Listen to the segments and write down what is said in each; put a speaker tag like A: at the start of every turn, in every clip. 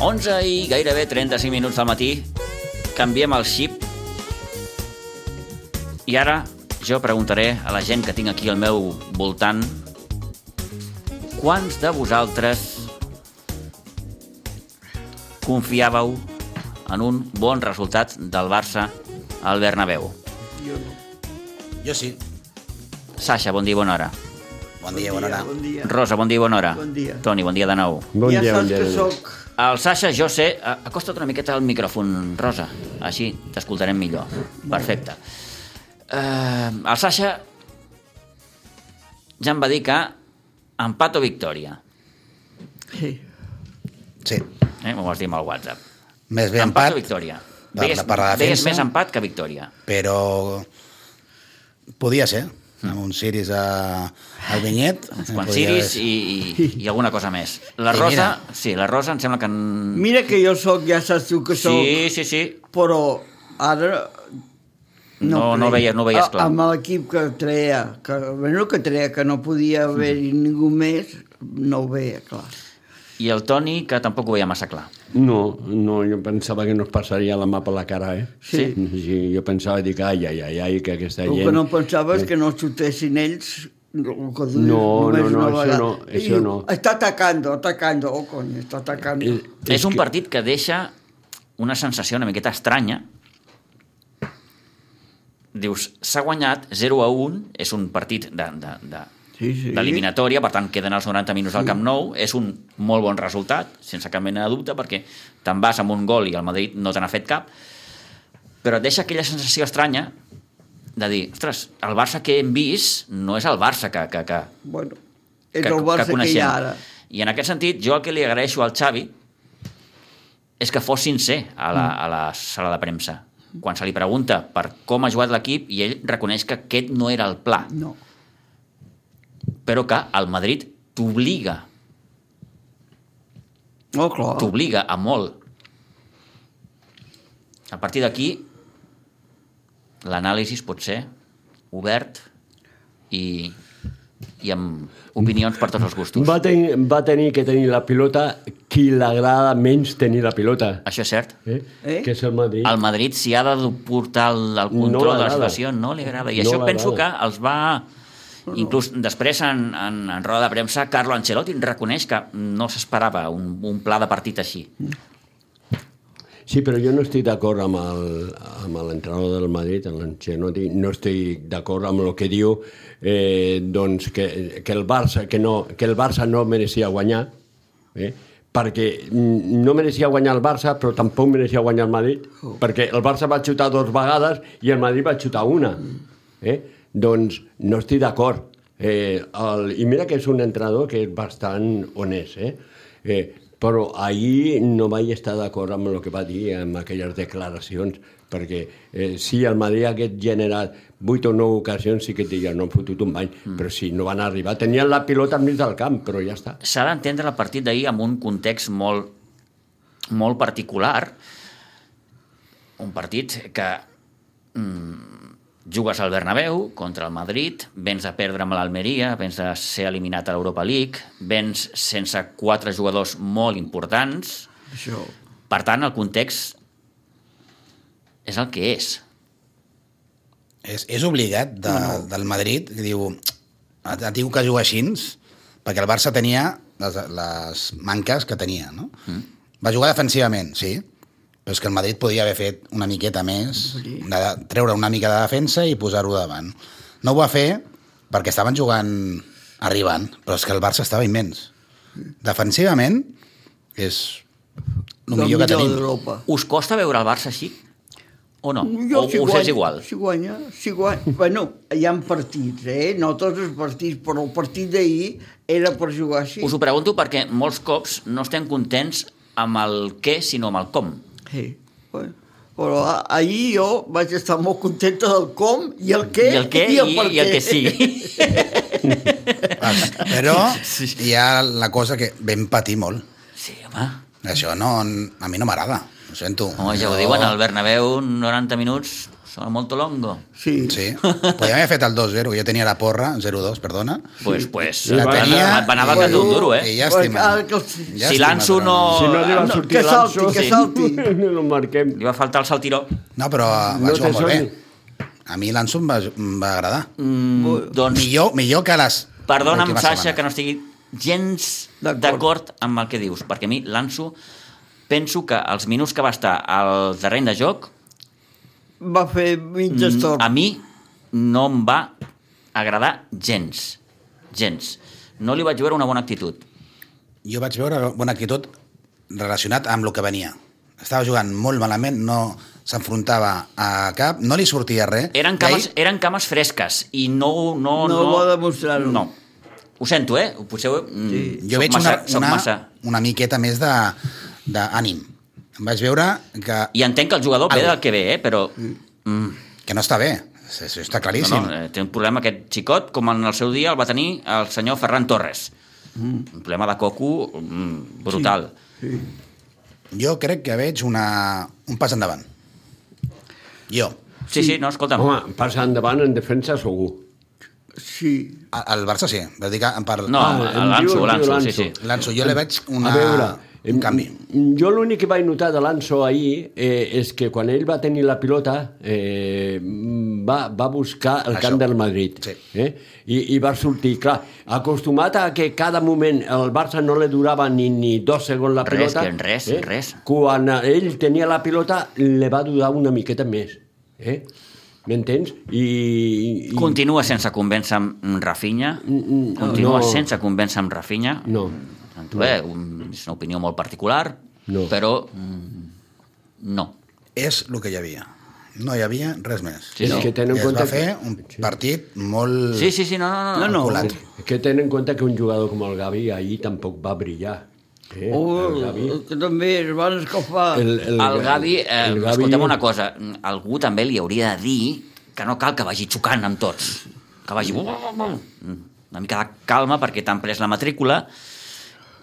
A: 11 i gairebé 35 minuts del matí. Canviem el xip. I ara jo preguntaré a la gent que tinc aquí al meu voltant quants de vosaltres confiàveu en un bon resultat del Barça al Bernabéu?
B: Jo sí.
A: Sasha, bon dia i bona hora.
B: Bon dia, bona hora.
C: Bon dia.
A: Rosa, bon dia i bona hora.
C: Bon dia.
A: Toni, bon dia de nou.
D: Bon
C: ja
D: dia,
C: saps
D: bon dia.
C: que
D: Déu.
C: sóc...
A: El Sasha, jo sé... a- Acosta't una miqueta al micròfon, Rosa. Així t'escoltarem millor. Perfecte. Uh, el Sasha ja em va dir que empat o victòria.
C: Sí.
B: Sí.
A: Eh? M'ho vas dir amb el WhatsApp.
B: Més bé
A: o
B: empat,
A: victòria?
B: Per la- per la
A: deies
B: defensa.
A: més empat que victòria.
B: Eh, però podia ser. Amb un Siris a, al vinyet.
A: Quan
B: podia
A: Ah. Siris
B: haver-
A: i, i, i alguna cosa més. La
B: Sí,
A: Rosa,
B: mira.
A: sí, la Rosa em sembla que... n-
C: Mira que jo sóc, ja saps tu que sóc,
A: Sí, sí, sí.
C: però ara...
A: No, no,
C: creia.
A: veies, no veies
C: A-
A: clar.
C: Amb l'equip que treia, que, bueno, que treia, que no podia
D: Mm.
C: haver-hi ningú més, no ho veia clar.
A: I el Toni, que tampoc ho veia massa clar.
D: No, no, jo pensava que no es passaria la mà per la cara, eh?
C: Sí.
D: sí jo pensava, dic, ai, ai, ai, ai que aquesta
C: El
D: gent...
C: que no pensava és que no xutessin ells el que duien
D: Eh. No,
C: només
D: no,
C: una
D: no, això
C: vegada.
D: no,
C: I
D: això
C: diu,
D: no.
C: Està atacando, atacando, oh, coño, està atacando.
D: Eh, És,
A: És, és un
D: que-
A: partit que deixa una sensació una miqueta estranya. Dius, s'ha guanyat 0 a 1, és un partit de, de, de,
C: Sí, sí.
A: d'eliminatòria, per tant queden els 90 minuts al Camp Nou, és un molt bon resultat, sense cap mena de dubte, perquè te'n vas amb un gol i el Madrid no te n'ha fet cap, però et deixa aquella sensació estranya de dir, ostres, el Barça que hem vist no és el Barça que, que, que,
C: Bueno, és el Barça que, hi ha ara.
A: I en aquest sentit, jo el que li agraeixo al Xavi és que fos sincer a la,
C: Mm.
A: a la sala de premsa. Quan se li pregunta per com ha jugat l'equip i ell reconeix que aquest no era el pla,
C: No.
A: però que el Madrid t'obliga,
C: Oh, clar.
A: t'obliga a molt. A partir d'aquí, l'anàlisi pot ser obert i, i amb opinions per tots els gustos.
D: Va tenir, va tenir que tenir la pilota qui l'agrada menys tenir la pilota.
A: Això és cert.
D: Eh?
C: Eh?
D: Que és el Madrid.
A: al Madrid si ha de portar el, el
D: No
A: control no de la
D: l'agrada.
A: situació no li agrada i
D: No
A: no això penso que
D: l'agrada.
A: els va inclús després en, en, en roda de premsa Carlo Ancelotti reconeix que no s'esperava un, un pla de partit així
D: Sí, però jo no estic d'acord amb el- amb l'entrenador del Madrid, amb l'Ancelotti, no estic d'acord amb el que diu eh, doncs que, que, el Barça, que, no, que el Barça no mereixia guanyar, eh? perquè mm, no mereixia guanyar el Barça, però tampoc mereixia guanyar el Madrid, perquè el Barça va xutar dues vegades i el Madrid va xutar una. Eh? Doncs no estic d'acord. Eh, el, I mira que és un entrenador que és bastant honest, eh? Eh, però ahir no vaig estar d'acord amb el que va dir, amb aquelles declaracions, perquè eh, si el Madrid hagués generat 8 o 9 ocasions sí que et diria, no han fotut un bany, mm. però si no van arribar, tenien la pilota enmig del camp, però ja està.
A: s'ha d'entendre el partit d'ahir amb un context molt, molt particular. Un partit que mm, jugues al Bernabéu contra el Madrid, vens a perdre amb l'Almeria, vens a ser eliminat a l'Europa League, vens sense quatre jugadors molt importants.
C: Això.
A: Per tant, el context és el que és.
B: És, és obligat de, no, no. del Madrid, que diu, et diu que juga així, perquè el Barça tenia les, les manques que tenia, no? Mm. Va jugar defensivament, sí, però és que el Madrid podia haver fet una miqueta més,
C: Sí.
B: de, treure una mica de defensa i posar-ho davant. No ho va fer perquè estaven jugant arribant, però és que el Barça estava immens. Defensivament és el millor que tenim.
C: d'Europa.
A: Us costa veure el Barça així? O no?
C: Jo,
A: o
C: si
A: us
C: guany-
A: és igual?
C: Si guanya, si guanya... eh? bueno, hi ha partits, eh? No tots els partits, però el partit d'ahir era per jugar així.
A: Us ho pregunto perquè molts cops no estem contents amb el què, sinó amb el com.
C: Sí. Bueno. Però a- ahir jo vaig estar molt contenta del com i el què
A: I el què i, i,
C: per
A: i el
C: què.
A: que sigui.
B: Però hi ha la cosa que vam patir molt.
A: Sí, home.
B: Això no, a mi no m'agrada, ho sento.
A: Home, ja ho
B: Jo-
A: diuen, al Bernabéu, 90 minuts, Sona molto longo.
C: Sí.
B: Sí. Podríem haver fet el 2-0, que jo tenia la porra, 0-2, perdona.
A: Pues, pues,
D: La
A: va-
B: tenia-
A: va- va anar valent un duro, eh?
B: I llàstima.
C: Pues, ah, que els-
B: Llàstima,
A: si lanço
B: però-
A: no...
D: Si no arriba a
A: no,
D: sortir
C: que salti,
D: l'Anso,
A: que
C: salti.
D: no el marquem.
A: Li va faltar el saltiró.
B: No, però va
D: No
B: jugar
D: te
B: molt
D: soni.
B: bé. A mi l'Anso em va, em va agradar.
A: Mm, doncs,
B: Millor, millor que les...
A: perdona'm,
B: l'última
A: Sasha,
B: setmana.
A: que no estigui gens
C: D'acord.
A: d'acord amb el que dius, perquè a mi l'Anso penso que els minuts que va estar al terreny de joc
C: Va fer mitja
A: Mm,
C: estona.
A: a mi no em va agradar gens. Gens. No li vaig veure una bona actitud.
B: Jo vaig veure bona actitud relacionat amb el que venia. Estava jugant molt malament, no s'enfrontava a cap, no li sortia res.
A: Eren
B: I
A: cames,
B: ahir-
A: eren cames fresques i no... No,
C: No va demostrar-ho.
A: No. Ho sento, eh? Potser... mm,
B: Jo
A: soc
B: veig
A: massa, soc
B: una,
A: Massa.
B: una, una miqueta més de- d'ànim. Em vaig veure que,
A: I entenc que el jugador ve
B: Algo.
A: del que ve, eh? Però... Mm,
B: que no està bé. Això està
A: no,
B: claríssim.
A: no, eh, té un problema aquest xicot, com en el seu dia el va tenir el senyor Ferran Torres. Mm. Un problema de coco mm, brutal.
B: Jo crec que veig una, un pas endavant. Jo.
A: Sí, sí, sí no, escolta'm.
D: Home, passa endavant en defensa segur.
C: Sí.
B: A- El Barça sí, però dic en part...
A: No,
D: Ah, em
A: el l'Anso,
D: diu- em diu
A: l'Anso, sí,
D: l'Anso.
A: sí.
B: L'Anso, jo li veig una,
A: Ah,
D: a veure, em-
B: un canvi.
D: Jo l'únic que vaig notar de l'Anso ahir eh, és que quan ell va tenir la pilota eh, va, va buscar el
B: Això.
D: camp del Madrid
B: Sí.
D: eh? I, i va sortir, clar, acostumat a que cada moment el Barça no li durava ni, ni dos segons la
A: Res,
D: pilota eh,
A: que en res, en res.
D: quan ell tenia la pilota li va durar una miqueta més eh? m'entens? I, i,
A: Continua sense convèncer amb Rafinha.
D: mm, no,
A: Continua
D: no.
A: sense convèncer amb Rafinha.
D: No.
A: Sento, eh? Un, és una opinió molt particular,
D: No.
A: però mm, no.
B: És el que hi havia. No hi havia res més.
A: Sí,
D: és
A: no.
D: que
B: I
D: tenen en
B: es
D: compte
B: va fer
D: que-
B: un partit
D: Eh.
B: molt
A: Sí, sí, sí, no, no, no.
C: No, no.
B: colat.
D: Que ten en compte que un jugador com el Gavi ahir tampoc va brillar. Eh? el Gavi.
C: Oh, que també es van escafar.
A: El, Gavi, eh, el Gavi... escolta'm una cosa, algú també li hauria de dir que no cal que vagi xocant amb tots. Que vagi... Una mica de calma perquè t'han pres la matrícula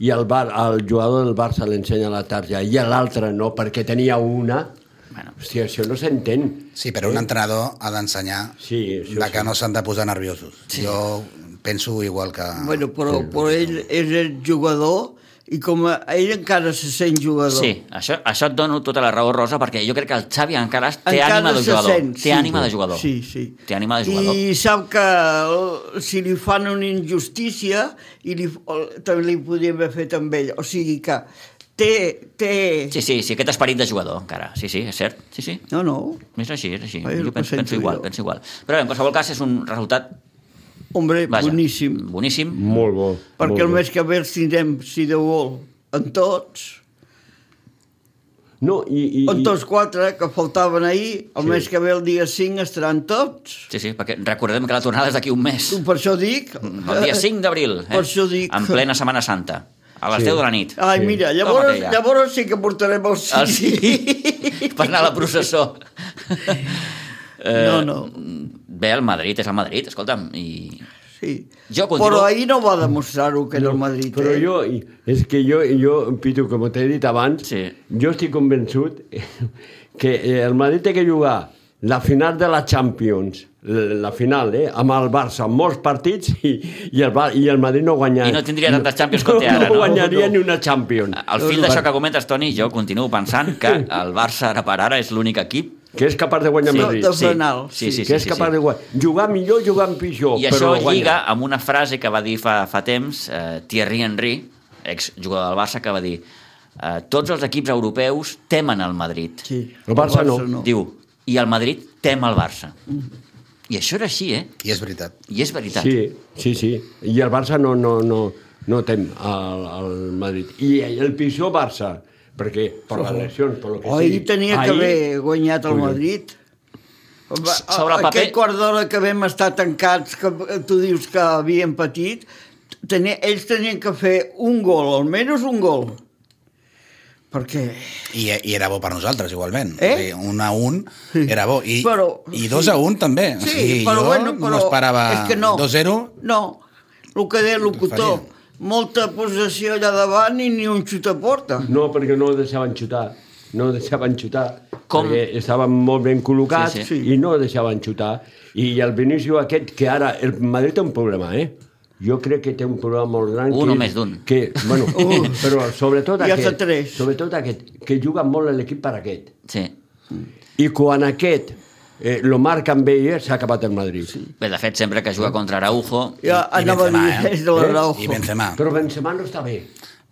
D: i el, Bar, el jugador del Barça l'ensenya la targeta i a l'altre no perquè tenia una
A: Bueno.
D: hòstia, això no s'entén
B: Sí, però un entrenador ha d'ensenyar
D: Sí, això
B: de que
D: sí.
B: no s'han de posar nerviosos. Jo penso igual que...
C: Bueno,
D: Ah,
C: però, però ell és el jugador i com a, ell encara se sent jugador.
A: Sí, això, això et dono tota la raó, Rosa, perquè jo crec que el Xavi encara té
C: Encara
A: ànima de
C: se
A: jugador.
C: sent,
A: té ànima de jugador.
C: Sí, sí.
A: Té ànima de jugador.
C: I sap que eh, si li fan una injustícia, i li, o- també li podria haver fet amb ell. O sigui que té... té...
A: Sí, sí, sí, aquest esperit de jugador, encara. Sí, sí, és cert. Sí, sí.
C: No, no,
A: És així, és així.
C: Ai,
A: jo
C: ho
A: penso,
C: sento
A: penso igual,
C: jo.
A: penso igual. Però bé, en qualsevol cas és un resultat...
C: hombre,
A: Vaja,
C: boníssim.
A: Boníssim.
D: molt bo molt
C: Perquè
D: bo.
C: el mes que ve els tindrem, si Déu vol, en tots,
D: no, i, i,
C: en
D: i-
C: tots quatre que faltaven ahir, el
D: Sí.
C: mes que ve el dia 5 estaran tots.
A: Sí, sí, perquè recordem que la tornada és d'aquí un mes.
C: Per això dic...
A: El dia 5 d'abril, eh?
C: Per això dic...
A: En plena Setmana Santa, a les
D: Sí.
A: 10 de la nit.
C: Ai,
D: Sí.
C: mira,
A: Toma-te
C: llavors,
A: ja.
C: llavors sí que portarem el
A: El
C: sí.
A: sí, per anar a la processó.
C: No,
A: Eh,
C: no,
A: Bé, el Madrid és el Madrid, escolta'm, i...
C: sí.
A: Jo continuo-
C: Però ahir no va demostrar-ho que era el Madrid.
D: Però
C: eh?
D: jo, és que jo, jo Pitu, com t'he dit abans,
A: Sí.
D: jo estic convençut que eh, el Madrid té que jugar la final de la Champions, l- la final, eh, amb el Barça, molts partits, i, i, el, Bar i el Madrid no guanyarà.
A: I no tindria tantes Champions com té ara,
D: No
A: no? Ah,
D: guanyaria ni una Champions.
A: Al fil d'això que comentes, Toni, jo continuo pensant que el Barça ara per ara és l'únic equip
D: Que és capaç de guanyar
C: Sí.
D: Madrid.
C: De penal,
A: Sí, sí, sí,
D: que
A: sí,
D: és
A: sí,
D: capaç de guanyar. Jugar millor, jugar pitjor,
A: I això
D: però
A: lliga
D: guanyar.
A: amb una frase que va dir fa, fa temps eh, Thierry Henry, exjugador del Barça, que va dir eh, tots els equips europeus temen el Madrid.
C: Sí.
D: El Barça no.
A: Diu, i el Madrid tem el Barça. I això era així, eh?
B: I és veritat.
A: I és veritat.
D: Sí, sí, sí. I el Barça no, no, no, no tem al, al Madrid. I el pitjor Barça, perquè per les lesions, per lo que
C: O ahir tenia que haver guanyat el
D: Collons.
C: Madrid. Va,
A: Sobre el paper-
C: Aquest quart d'hora que vam estar tancats, que tu dius que havien patit, tenia, ells tenien que fer un gol, almenys un gol. Perquè...
B: I, I era bo per nosaltres, igualment.
C: Eh?
B: O sigui, un a un era bo. I,
C: Però-
B: i dos
C: sí.
B: a un també. o sigui, jo no m'esperava 2-0.
C: No, el que deia el locutor,
B: Fallem.
C: molta possessió allà davant i ni un xut a porta.
D: No, perquè no deixaven xutar. No deixaven xutar.
A: Com?
D: Perquè estaven molt ben col·locats
A: Sí,
D: sí,
C: sí.
D: sí. i no deixaven xutar. I el Vinícius aquest, que ara... El Madrid té un problema, eh? Jo crec que té un problema molt gran.
A: Un
D: que,
A: o més d'un.
D: Que, bueno, uh, però sobretot
C: Ja
D: aquest,
C: està tres.
D: sobretot aquest, que juga molt l'equip per aquest.
A: Sí.
D: I quan aquest eh, lo marca amb ell, eh, s'ha acabat el Madrid. Sí.
A: Bé, de fet, sempre que juga contra Araujo...
C: Ja
B: I
C: Ah, anava a dir,
B: Benzema, eh?
C: és de
D: Eh?
B: I
C: l'Araujo.
B: Benzema.
D: Però Benzema no està bé.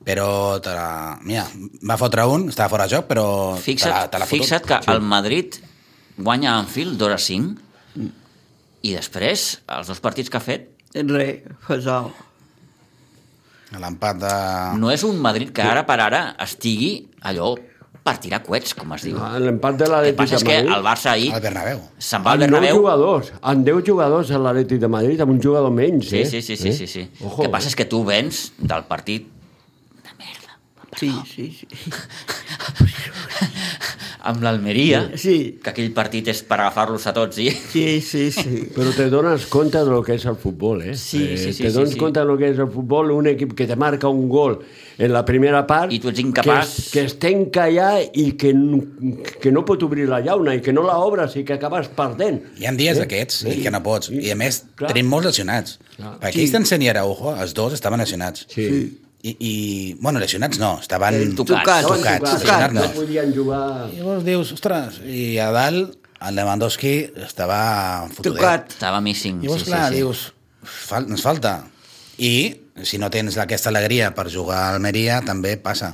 B: Però, te la... mira, va fotre un, estava fora de joc, però te la,
A: Fixa't,
B: te l'ha fotut.
A: fixa't que el Madrid guanya a Anfield d'hora 5 i després, els dos partits que ha fet,
C: Re, Fasal.
B: L'empat de...
A: no és un Madrid que ara per ara estigui allò per tirar coets, com es diu.
D: Ah, L'empat de
A: El que
D: l'Atlètic
A: passa és
D: de
A: que
D: Madrid...
A: el Barça ahir
B: Al Bernabéu.
A: se'n va al
B: Ah,
D: Amb 9
A: Bernabéu
D: jugadors, amb 10 jugadors a l'Atlètic de Madrid, amb un jugador menys,
A: Sí,
D: eh?
A: sí, sí, sí, sí, sí.
D: Eh?
A: El que passa és que tu vens del partit
C: Sí, sí, sí.
A: amb l'Almeria,
C: Sí.
A: que aquell partit és per agafar-los a tots i...
C: Sí, sí, sí.
D: Però te dones compte del que és el futbol, eh?
A: Sí,
D: Eh,
A: sí, sí,
D: Te
A: sí,
D: dones
A: sí.
D: compte del que és el futbol, un equip que te marca un gol en la primera part...
A: I tu ets incapaç.
D: Que, es, que es tenca allà i que, n- que no pot obrir la llauna i que no la obres i que acabes perdent.
B: Hi ha dies d'aquests i que no pots. I a més,
D: Clar.
B: tenim molts lesionats.
D: Clar.
B: Perquè Christensen i Araujo, els dos estaven lesionats.
D: Sí.
B: I, i bueno, lesionats no, estaven...
A: Tocats.
C: Tocats,
B: Tocats,
C: tocats.
B: lesionats
D: no
B: no.
D: podien jugar...
B: Llavors dius, ostres, i a dalt el Lewandowski estava fotudet.
C: Tocat.
A: Estava missing.
B: Llavors,
A: sí,
B: clar,
A: sí, sí.
B: dius, fal ens falta. I si no tens aquesta alegria per jugar a Almeria, també passa.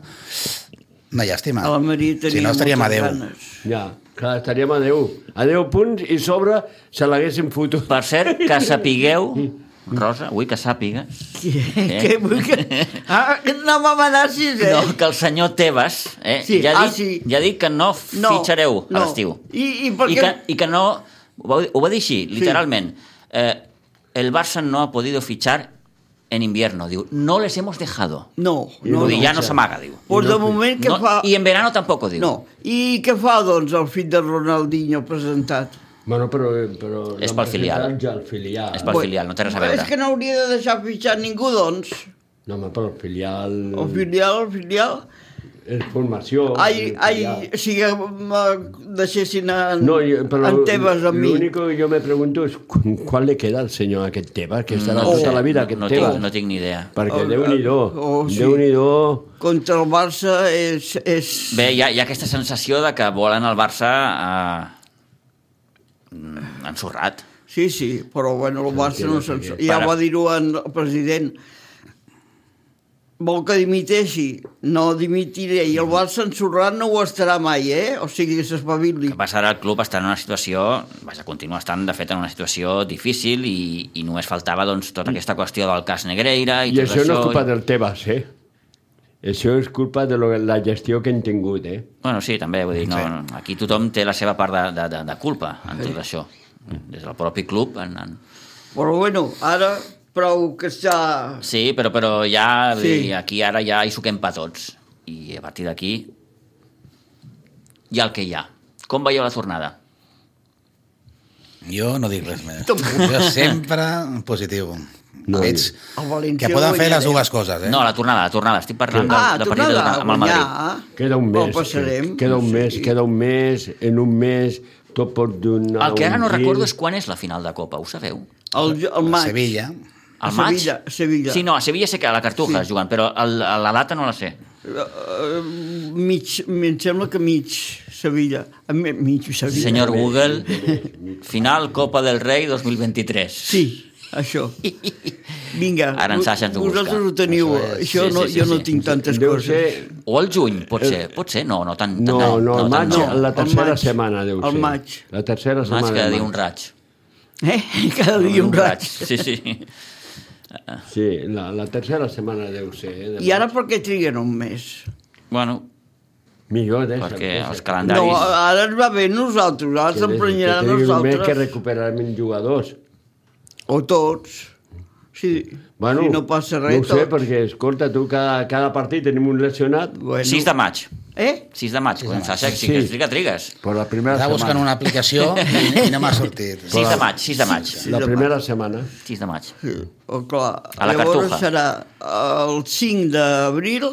B: Una llàstima.
C: A la Maria tenia
B: si no, estaríem a
C: moltes
B: Déu.
C: ganes.
D: Ja, clar, estaríem a 10. A 10 punts i sobre se l'haguessin fotut.
A: Per cert, que sapigueu... Rosa, vull que sàpiga
C: Què? Què vull que... Ah, no m'amenacis, eh?
A: Eh? no, que el senyor Tebas eh,
C: Sí,
A: ja, ha
C: ah,
A: dit,
C: sí.
A: ja ha dit que no
C: No,
A: fitxareu
C: no.
A: a l'estiu.
C: I- i per
A: I,
C: què-
A: que, I que no... Ho va, ho va dir així, literalment. Eh, el Barça no ha podido fichar en invierno. Diu, no les hemos dejado.
C: No, no,
A: No,
C: no.
A: dir, ja no s'amaga, diu.
C: Pues de moment que
A: No,
C: fa...
A: I en verano tampoco, diu.
C: No. I què fa, doncs, el fill de Ronaldinho presentat?
D: Bueno, però... però
A: És
D: l'han
A: pel filial.
D: presentat Ja el filial.
A: És pel filial, no té res a veure.
C: És que no hauria de deixar fitxar ningú, doncs.
D: No, home, però el filial...
C: El filial, el filial...
D: És formació.
C: Ai,
D: el
C: ai,
D: filial.
C: si que me deixessin en,
D: No, jo- però
C: en Tebas amb mi.
D: l'únic que jo me pregunto és quan, quan li queda al senyor a aquest Tebas, que estarà
C: No.
D: tota la vida aquest
A: Oh. no, no,
D: Tebas.
A: tinc, no tinc ni idea.
D: Perquè
C: Oh,
D: Déu-n'hi-do,
C: oh, sí.
D: Déu-n'hi-do...
C: Contra el Barça és... és...
A: Bé, hi ha, hi ha aquesta sensació de que volen el Barça eh, mm, ensorrat.
C: Sí, sí, però bueno, el Barça no se'n...
D: tranquil.
C: Ja
A: Para.
C: va dir-ho en el president. Vol que dimiteixi? No dimitiré. I el Barça ensorrat no ho estarà mai, eh? O sigui, que s'espavili.
A: El que passa ara el club està en una situació, vaja, continua estant, de fet, en una situació difícil i, i només faltava doncs, tota aquesta qüestió del cas Negreira i,
D: I
A: tot
D: això no és culpa
A: i-
D: del Tebas, eh? Això és culpa de lo, la gestió que hem tingut, eh?
A: Bueno, sí, també, vull dir, no, no, aquí tothom té la seva part de, de, de, de culpa en tot això. Des del propi club. En, en...
C: Però bueno, ara prou que està...
A: Sí, però, però ja,
C: Sí.
A: sí. aquí ara ja hi suquem pa tots. I a partir d'aquí hi ha el que hi ha. Com veieu la tornada?
B: Jo no dic res més.
C: Tampoc.
B: Jo sempre positiu.
D: No.
B: Veig
C: El València
B: que poden fer
C: guanyarà.
B: les dues coses, eh?
A: No, la tornada, la tornada. Estic parlant
C: Ah,
A: del, del partit de,
C: tornada a
A: amb el
C: guanyar.
A: Madrid.
D: Queda un
C: Però
D: mes.
C: passarem.
D: Queda un mes,
C: Sí.
D: queda un mes, en un mes, tot pot donar
A: El que ara
D: un
A: no
D: gir.
A: recordo és quan és la final de Copa, ho sabeu?
C: El, el maig.
B: Sevilla.
A: Al
C: A
A: maig?
C: Sevilla, Sevilla.
A: Sí, no, a Sevilla sé que a la Cartuja sí. jugant, però el, a la data no la sé.
C: Eh, mig, em sembla que mig Sevilla. A mi- Mig Sevilla.
A: Senyor Google, final Copa del Rei 2023.
C: Sí, això. Vinga,
A: Ara en Sasha ens ho
C: vosaltres
A: busca.
C: ho teniu.
B: Això és-
C: Això,
A: Sí,
C: no,
A: sí, sí,
C: jo no
A: sí.
C: tinc tantes
D: Deu
C: coses.
D: ser
A: O el juny, pot ser, pot ser, no, no tant. tant
D: No, no, no,
A: tant,
D: el maig,
A: no.
D: la
C: El
D: tercera
C: maig.
D: setmana, deu
C: El
D: ser.
C: maig.
D: La tercera
A: maig
D: setmana.
A: cada
D: del
A: dia
D: maig.
A: un raig.
C: Eh? Cada dia un raig.
A: Sí, sí.
D: Sí, la, la tercera setmana deu ser. Eh, de
C: I ara per què triguen un mes?
A: Bueno,
D: Millor deixa.
A: perquè els
C: No, eh,
A: calendaris...
C: ara ens va bé a nosaltres, ara
D: Que
C: se'n
D: des-
C: prenyarà a
D: que tenim més que
C: nosaltres.
D: recuperar menys jugadors.
C: O tots. Sí, bueno, si no passa res,
D: no ho sé,
C: tots.
D: perquè, escolta, tu cada, cada partit tenim un lesionat,
C: Bueno.
A: 6 de maig.
C: Eh?
A: 6 de maig, començar a sí
D: Sí.
A: que triga, trigues.
D: per la primera
B: Estava buscant
D: setmana.
B: una aplicació i, i no m'ha sortit.
A: 6 de maig, 6 de maig.
C: Sí,
D: La
C: demà.
D: primera setmana.
A: 6 de maig.
C: Sí. O clar,
A: A la
C: llavors
A: Cartuja.
C: serà el 5 d'abril,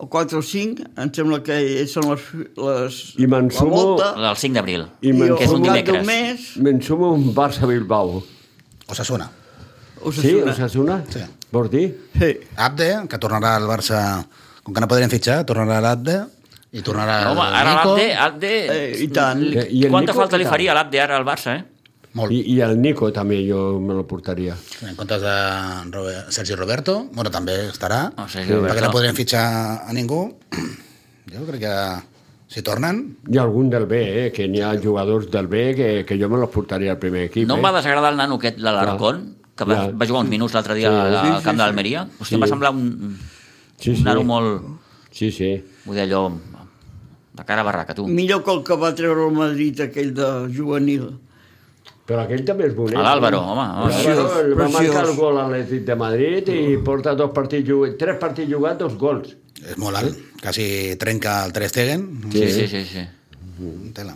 C: o 4 o 5, em sembla que són les... les
D: I me'n
C: la
D: sumo-
C: volta,
A: El 5 d'abril,
D: I me'n
A: que és
D: sumo-
A: un
C: cap d'un
A: dimecres.
C: mes,
D: Me'n sumo un Barça-Bilbao.
B: Osasuna.
D: Sí,
C: Osasuna.
D: Osasuna?
B: Sí.
D: Vols dir?
C: Sí.
B: Abde, que tornarà al Barça... Com que no podrem fitxar, tornarà l'Abde i tornarà
A: Home,
B: el
A: ara
B: Nico.
A: l'Abde... Abde...
C: Eh, I tant.
D: Eh, i el
A: Quanta
D: Nico
A: falta
D: què
A: li
D: tal?
A: faria a l'Abde ara al Barça, eh?
B: Molt.
D: I, I el Nico també jo me lo portaria.
B: En comptes de Robert, Sergi Roberto, bueno, també estarà,
A: No sé,
B: perquè no
A: Roberto.
B: podrem fitxar a ningú. Jo crec que si tornen,
D: Hi ha algun del B, eh? que n'hi ha jugadors del B que, que jo me los portaria al primer equip.
A: No em
D: eh?
A: va desagradar el nano aquest de l'Alarcón, que va,
D: Ja.
A: va jugar uns minuts l'altre dia
D: Sí,
A: al
D: sí,
A: al
D: sí,
A: camp
D: sí.
A: d'Almeria. Hosti,
D: Sí.
A: em va semblar un,
D: Sí,
A: un
D: sí.
A: nano molt...
D: Sí, sí.
A: Vull dir allò... De cara a barraca, tu.
C: Millor que el que va treure el Madrid, aquell de juvenil.
D: Però aquell també és bonic.
A: A l'Àlvaro,
D: eh?
A: home, home. Mm.
D: L'Àlvaro
C: Preciós,
D: va marcar
C: preciós.
D: el gol a l'Atlètic de Madrid i porta dos partits jugats, tres partits jugats, dos gols.
B: és molt alt, quasi trenca el Ter Stegen.
A: Sí, sí, sí, sí.
B: Tela.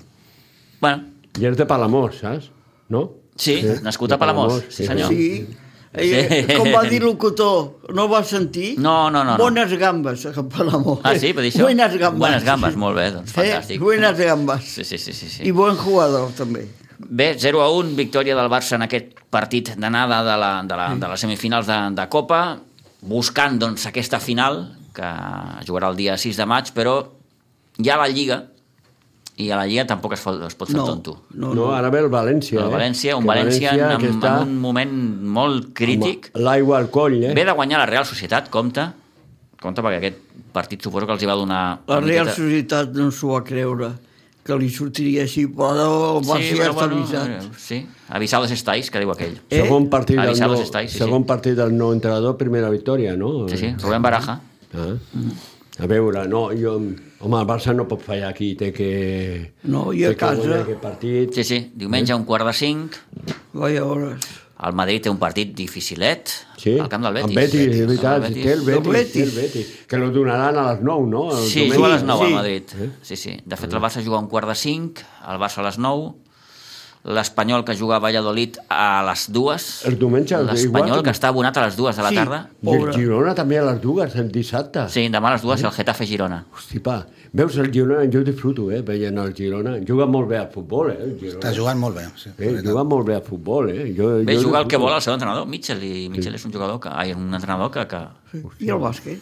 A: Bueno,
D: I és de Palamós, saps? No?
A: sí, nascut a Palamós, sí senyor.
C: Sí. Eh,
A: Sí.
C: Com va dir locutor, no ho va sentir?
A: No, no, no, no.
C: Bones gambes, eh, a Palamós.
A: Ah, sí, per dir això?
C: Buenas gambes.
A: Buenas gambes, molt bé, doncs fantàstic.
C: Eh? Buenas gambes.
A: Sí, sí, sí, sí, sí.
C: I bon jugador, també.
A: Bé, 0 a 1, victòria del Barça en aquest partit d'anada de, la, de, la, de les semifinals de, de Copa, buscant doncs, aquesta final, que jugarà el dia 6 de maig, però ja a la Lliga, i a la Lliga tampoc es, fot, es pot fer
C: No,
A: tonto.
C: no,
D: No,
C: no.
D: ah, ara ve el València.
A: El
D: eh?
A: València, un
D: Que
A: València, en,
D: que
A: en,
D: està
A: en un moment molt crític,
D: amb L'aigua al coll, eh?
A: ve de guanyar la Real Societat, compte, compte perquè aquest partit suposo que els hi va donar...
C: La
A: una
C: Real
A: miqueta-
C: Societat no s'ho va creure, que li sortiria així, però el Barça sí, ja
A: però eh.
C: està avisat.
A: sí, avisados estáis, que diu aquell.
C: Eh?
D: Segon partit, del
A: Avisados
D: no,
A: estáis, sí,
D: segon
A: sí.
D: partit del nou entrenador, primera victòria, no?
A: Sí, sí, Rubén Baraja.
D: Ah. A veure, no, jo... Home, el Barça no pot fallar aquí, té que...
C: No, i a
D: té que guanyar
C: casa?
D: Aquest partit.
A: Sí, sí, diumenge a un quart de cinc.
C: Va, llavors.
A: El Madrid té un partit dificilet
D: Sí,
A: al camp del Betis.
D: Amb Betis, és
A: Al camp
D: veritat,
A: del
D: té el
A: Betis.
D: Betis,
C: El Betis.
D: té el Betis. Que lo donaran a les 9, no? El
A: Sí,
D: diumenge.
A: juga a les 9
C: Sí.
A: al Madrid. Sí, sí. De fet, el Barça juga a un quart de 5, el Barça a les 9, l'Espanyol que juga a Valladolid a les 2,
D: El diumenge, igual,
A: l'Espanyol
D: també.
A: que està abonat a les 2 de la
C: Sí.
A: tarda.
D: I el
C: Pobre.
D: Girona també a les dues, el dissabte.
A: Sí, demà a les 2 el Getafe Girona.
D: Hosti, pa, veus el Girona, jo disfruto, eh, veient el Girona. Juga molt bé a futbol, eh, el Girona.
B: Està jugant molt bé. Sí,
D: Eh, juga molt bé a futbol, eh. Jo,
A: Bé,
D: jo
A: juga el que
D: disfruto.
A: vol el seu entrenador, Mitchell, i Mitchell és un jugador que... Ai, un entrenador que... que...
C: I el bàsquet?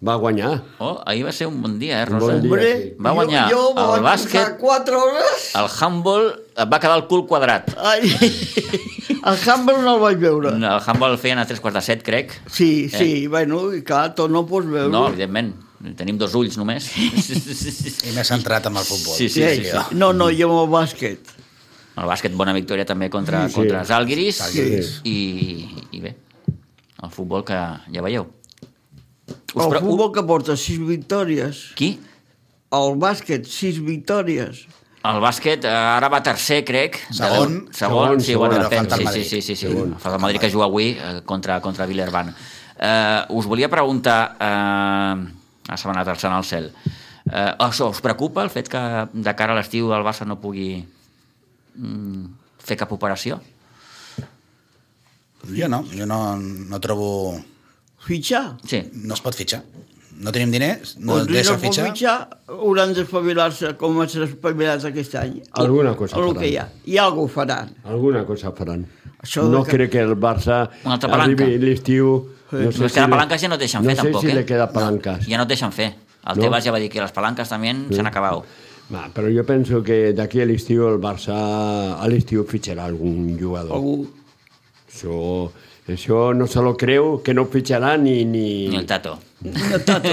D: Va guanyar.
A: Oh, ahir va ser un bon dia, eh,
D: Un
A: Rosa?
D: bon dia.
C: Hombre,
D: sí.
A: Va guanyar
C: jo, jo
A: el
C: vaig
A: bàsquet.
C: posar 4 hores.
A: El handball et va quedar el cul quadrat.
C: Ai, el Humble no el vaig veure.
A: El handball el feien a 3 quarts de 7, crec.
C: Sí, sí, bueno, i clar, tot no ho pots veure.
A: Eh. No, evidentment. Tenim dos ulls només.
B: I més centrat amb el futbol.
A: Sí, sí, sí, sí.
C: Eh, No, no, i amb el bàsquet.
A: El bàsquet, bona victòria també contra,
D: Sí.
A: sí. contra Zalgiris.
B: Zalgiris.
A: I, I bé, el futbol que ja veieu. Us
C: El
A: pre-
C: Oh, futbol que porta 6 victòries.
A: Qui?
C: El bàsquet, 6 victòries.
A: El bàsquet eh, ara va tercer, crec. de-
B: Segon.
A: Segon, segon sí,
D: Segon,
A: bueno,
D: però
A: depèn.
B: falta el
A: Sí, sí,
B: Madrid.
A: sí, sí, sí. Falta el Madrid que juga avui eh, contra, contra Villerban. Eh, us volia preguntar... Eh, ha semanat el Sant al cel. Eh, això, us preocupa el fet que de cara a l'estiu el Barça no pugui mm, fer cap operació?
B: Jo no, jo no, no trobo...
C: Fitxar.
A: Sí.
B: No es pot fitxar. No tenim diners, no
C: No,
B: es
C: doncs si
B: deixa
C: no pot
B: fitxar.
C: fitxar, hauran d'espavilar-se com s'ha espavilat aquest any.
D: Alguna cosa
C: El
D: faran.
C: que hi ha. I alguna cosa faran.
D: Alguna cosa faran.
C: Això de
D: no
C: que-
D: crec que el Barça
A: Una altra palanca.
D: arribi l'estiu... No
A: Però és que la
D: li-
A: palanca ja no et deixen
D: no
A: fer,
D: sé
A: tampoc,
D: si
A: eh?
D: li queda palanques.
A: Ja no et deixen fer. El
D: No?
A: no. Tebas ja va dir que les palanques també s'han acabat.
D: Va, però jo penso que d'aquí a l'estiu el Barça a l'estiu fitxarà algun jugador.
C: Algú.
D: Això, això no se lo creu, que no fitxarà ni... Ni,
A: Ni el Tato.
C: No tanto.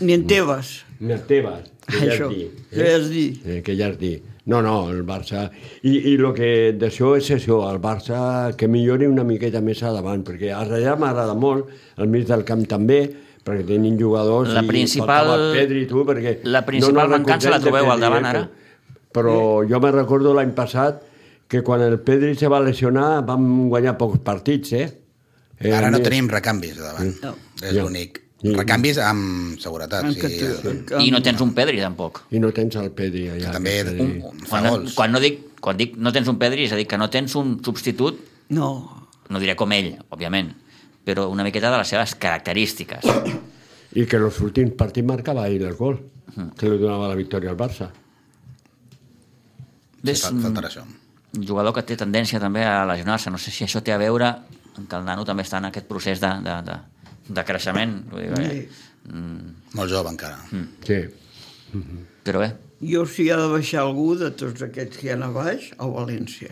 C: Ni en Tebas.
D: ni el Tebas, que Mm. ja
C: Això.
D: és dir.
C: Què has dit?
D: Eh, que ja és dir. No, no, el Barça... I, i el que d'això és això, el Barça que millori una miqueta més a davant, perquè a darrere m'agrada molt, al mig del camp també, perquè tenim jugadors
A: La principal-
D: i faltava Pedri i tu perquè...
A: la principal
D: recordem
A: mancança la
D: de
A: trobeu al
D: Pedri,
A: davant,
D: eh,
A: ara.
D: que- Però jo me recordo l'any passat que quan el Pedri se va lesionar vam guanyar pocs partits, eh? eh
B: Ara no
D: més.
B: tenim recanvis a davant.
C: No.
B: És
D: Ja.
B: l'únic.
D: Ja.
B: Recanvis amb seguretat.
C: En
B: sí,
C: que tu-
B: eh,
C: que-
A: I no tens un Pedri, tampoc.
D: I no tens el Pedri allà.
B: també
D: que
B: un,
D: Pedri-
B: un, fa
A: Quan, no,
B: gols.
A: quan, no dic, quan dic no tens un Pedri, és a dir, que no tens un substitut,
C: No.
A: no diré com ell, òbviament, però una miqueta de les seves característiques.
D: I que en els últims partits marcava ell el gol, que li donava la victòria al Barça.
A: És
B: fa-
A: un
B: Faltarà això.
A: jugador que té tendència també a lesionar-se. No sé si això té a veure amb que el nano també està en aquest procés de, de, de, de creixement. Vull dir, eh?
B: Molt jove encara.
D: Sí.
A: Però bé,
C: Jo si hi ha de baixar algú de tots aquests que hi ha a baix, a València.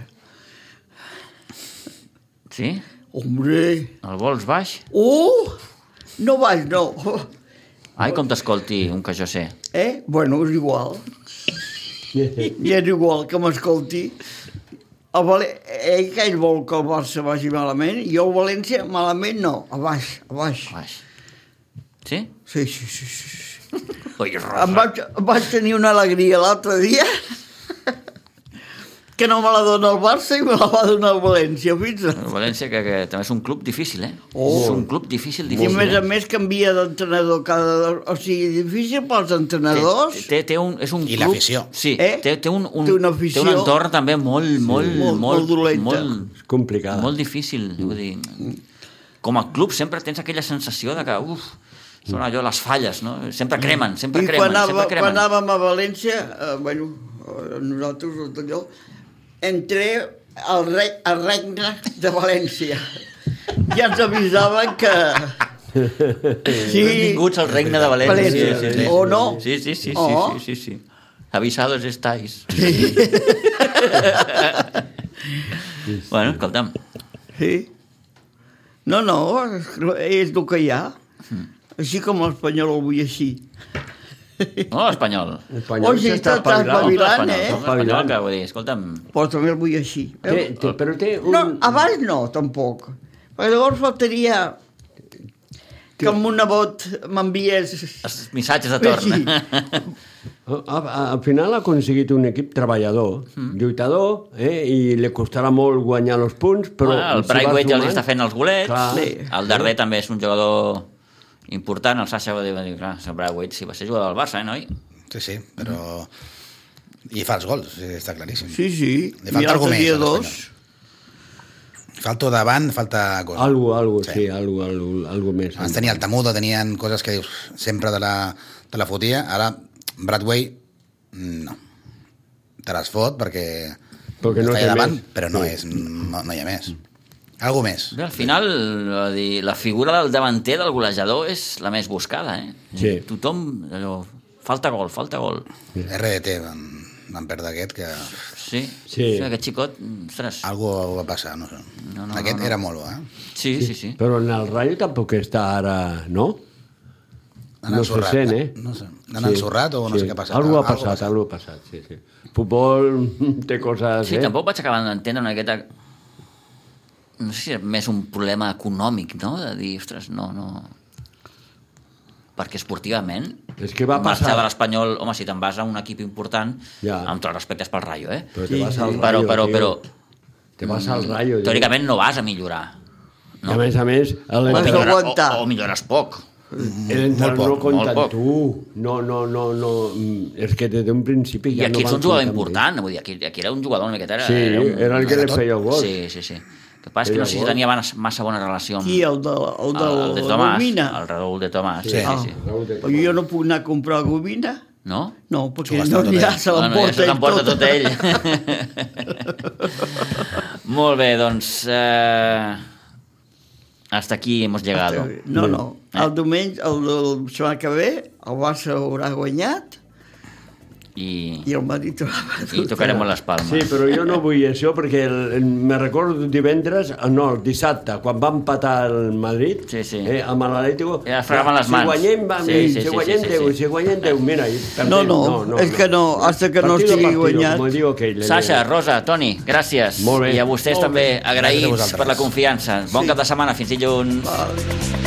A: sí?
C: Hombre!
A: El vols baix?
C: Uh! No baix, no.
A: Ai, com t'escolti un que jo sé.
C: Eh? Bueno, és igual. I és igual que m'escolti. El Val... Ell que ell vol que el Barça vagi malament, i el València malament no, a baix, a baix.
A: Baix. Sí?
C: Sí, sí, sí. sí. sí.
A: Ui, Rosa.
C: Em vaig, em vaig tenir una alegria l'altre dia que no me la dona el Barça i me la va donar el València, fixa't.
A: El València, que, que també és un club difícil, eh?
C: Oh.
A: És un club difícil,
C: I a
A: difícil.
C: més a
A: eh?
C: més canvia d'entrenador cada... O sigui, difícil pels entrenadors.
A: Té, té un, és un
B: I
A: club...
B: l'afició.
A: Sí,
C: Eh?
A: té, té, un, un,
C: Té una
A: té
C: afició.
A: un entorn també molt, molt, molt,
C: Molt- molt dolenta.
A: molt,
D: És complicada.
A: Molt difícil, vull dir... Com a club sempre tens aquella sensació de que, uf, són allò, les falles, no? Sempre cremen, sempre
C: I
A: cremen,
C: quan, anava,
A: sempre
C: quan
A: cremen.
C: anàvem a València, eh, bueno, eh, nosaltres, els d'allò, entré al, re, al regne de València. Ja ens avisaven que... Sí,
A: Benvinguts al regne de València.
C: València. O no.
A: Sí, sí, sí, sí,
C: O.
A: sí, sí, sí. Avisados estáis. bueno, escolta'm,
C: sí. No, no, és el que hi ha. Així com l'espanyol el vull així.
A: no l'espanyol.
D: Espanyol
C: Oye,
D: s'està
C: estàs
D: espavilant.
A: No, l'espanyol, no,
C: espavilant, eh?
A: l'espanyol, que vull dir, escolta'm...
C: Però també el vull així. Eh,
D: Té, té, però té un...
C: No, abans no, tampoc. Perquè llavors faltaria que amb un nebot m'enviés
A: els missatges de torn.
C: Sí.
D: Oh, A- a- Al final ha aconseguit un equip treballador,
A: Mm.
D: lluitador, eh? i li costarà molt guanyar els punts, però...
A: Bueno, el
D: si va
A: Braithwaite ja els
D: sumant-
A: està fent els golets,
D: Clar.
A: sí.
C: Sí.
A: el Darder també és un jugador important, el Sasha va dir, va dir clar, el Braithwaite sí, va ser jugador del Barça, eh, noi?
B: Sí, sí, però... I fa els gols, sí, està claríssim.
C: Sí, sí.
B: Li falta algú més,
C: dia
B: a
C: dos.
B: l'Espanyol. Falta davant, falta... Cosa.
D: Algo, algo, sí, sí algo, algo, algo més.
B: Abans tenia el Tamudo, tenien coses que dius sempre de la, de la fotia. Ara, Bradway, no. Te les fot perquè,
D: Perquè no
B: està
D: té
B: allà davant,
D: més.
B: però no, és, no, no hi ha més. Algú més.
A: Bé, al final, va dir, la figura del davanter del golejador és la més buscada, eh?
D: Sí.
A: Tothom, allò, falta gol, falta gol.
B: RDT van, van perdre aquest que
A: Sí,
D: Sí. Ah,
A: sí aquest xicot, ostres,
B: algú va passar, no sé.
A: No, no,
B: aquest
A: no, no.
B: era molt bo, eh?
A: sí, sí, sí.
D: Però en el Rayo tampoc està ara, no?
B: Han
D: No se
B: ensorrat,
D: sent, eh?
B: No sé, han ensorrat o no sé què ha passat. eh?
D: Algo ha
B: Algo
D: passat, algo ha passat, sí, sí. Futbol té coses,
A: Sí,
D: eh?
A: tampoc vaig acabar d'entendre una miqueta... No sé si és més un problema econòmic, no? De dir, ostres, no, no... Perquè esportivament...
D: És que va
A: marxar
D: passar.
A: de l'Espanyol... Home, si te'n vas a un equip important,
D: Ja.
A: amb tots els respectes pel Rayo, eh?
D: Però te vas al Rayo,
A: Però, però,
D: tio.
A: però,
D: Te vas al Rayo. tio.
A: teòricament no vas a millorar.
D: I a més a més,
A: O,
C: Vas a
D: l'entrenador
A: millora- o,
C: aguantar.
A: o millores poc.
D: no
B: molt poc,
D: compta
A: molt
D: amb
A: poc.
D: tu. No, no, no, no. mm, És que des d'un principi
A: I
D: ja
A: aquí
D: no
A: ets
D: van
A: un jugador
D: comptar amb
A: important, vull dir, aquí, aquí era un jugador una miqueta...
D: ell.
A: Era,
D: Sí,
A: era un...
D: era el que li feia el gol. Sí.
A: Sí, sí, sí. El que passa és que no sé si
D: Era gol.
A: tenia bones- massa bona relació amb
C: Qui, el de, el de,
A: Ah, el, el de
C: la
A: Tomàs,
C: Gomina?
A: el Raül de Tomàs. Sí,
B: Sí.
A: sí,
C: Ah,
A: sí.
C: Però jo no puc anar a comprar gomina?
A: No?
C: No, perquè
B: Jugues
C: no
B: tot
C: n'hi ha,
B: ell.
C: se
A: Ah, ja se
C: l'emporta
A: l'emporta
C: ell
A: tot ell. Molt bé, doncs... Eh, hasta aquí hemos llegado.
C: No, no.
A: Eh.
C: El diumenge, el, el setmana que ve, el Barça haurà guanyat
A: I,
C: i el Madrid
A: i
C: haurà perdut.
A: tocarem les palmes.
D: Sí, però jo no vull això perquè el- el- me recordo divendres, ah, no, el dissabte, quan va empatar el Madrid
A: Sí, sí.
D: Eh, amb l'Atlético.
A: Ja es fregaven les mans.
D: Si guanyem, vam
A: Sí,
D: dir,
A: sí,
D: si
A: sí,
D: guanyem
A: sí, sí,
D: 10,
A: sí.
D: si guanyem 10, mira. i perdem.
C: No, no, és que no, hasta que no
D: Partido a
C: estigui
D: partido,
C: guanyat.
D: com diu aquell,
A: Sasha,
D: eh,
A: Rosa, Toni, gràcies.
D: Molt bé.
A: I a vostès
D: Molt
A: també
D: bé.
B: Gràcies a
A: agraïts
B: vosaltres.
A: per la confiança. Bon cap de setmana, fins dilluns.
C: Vale.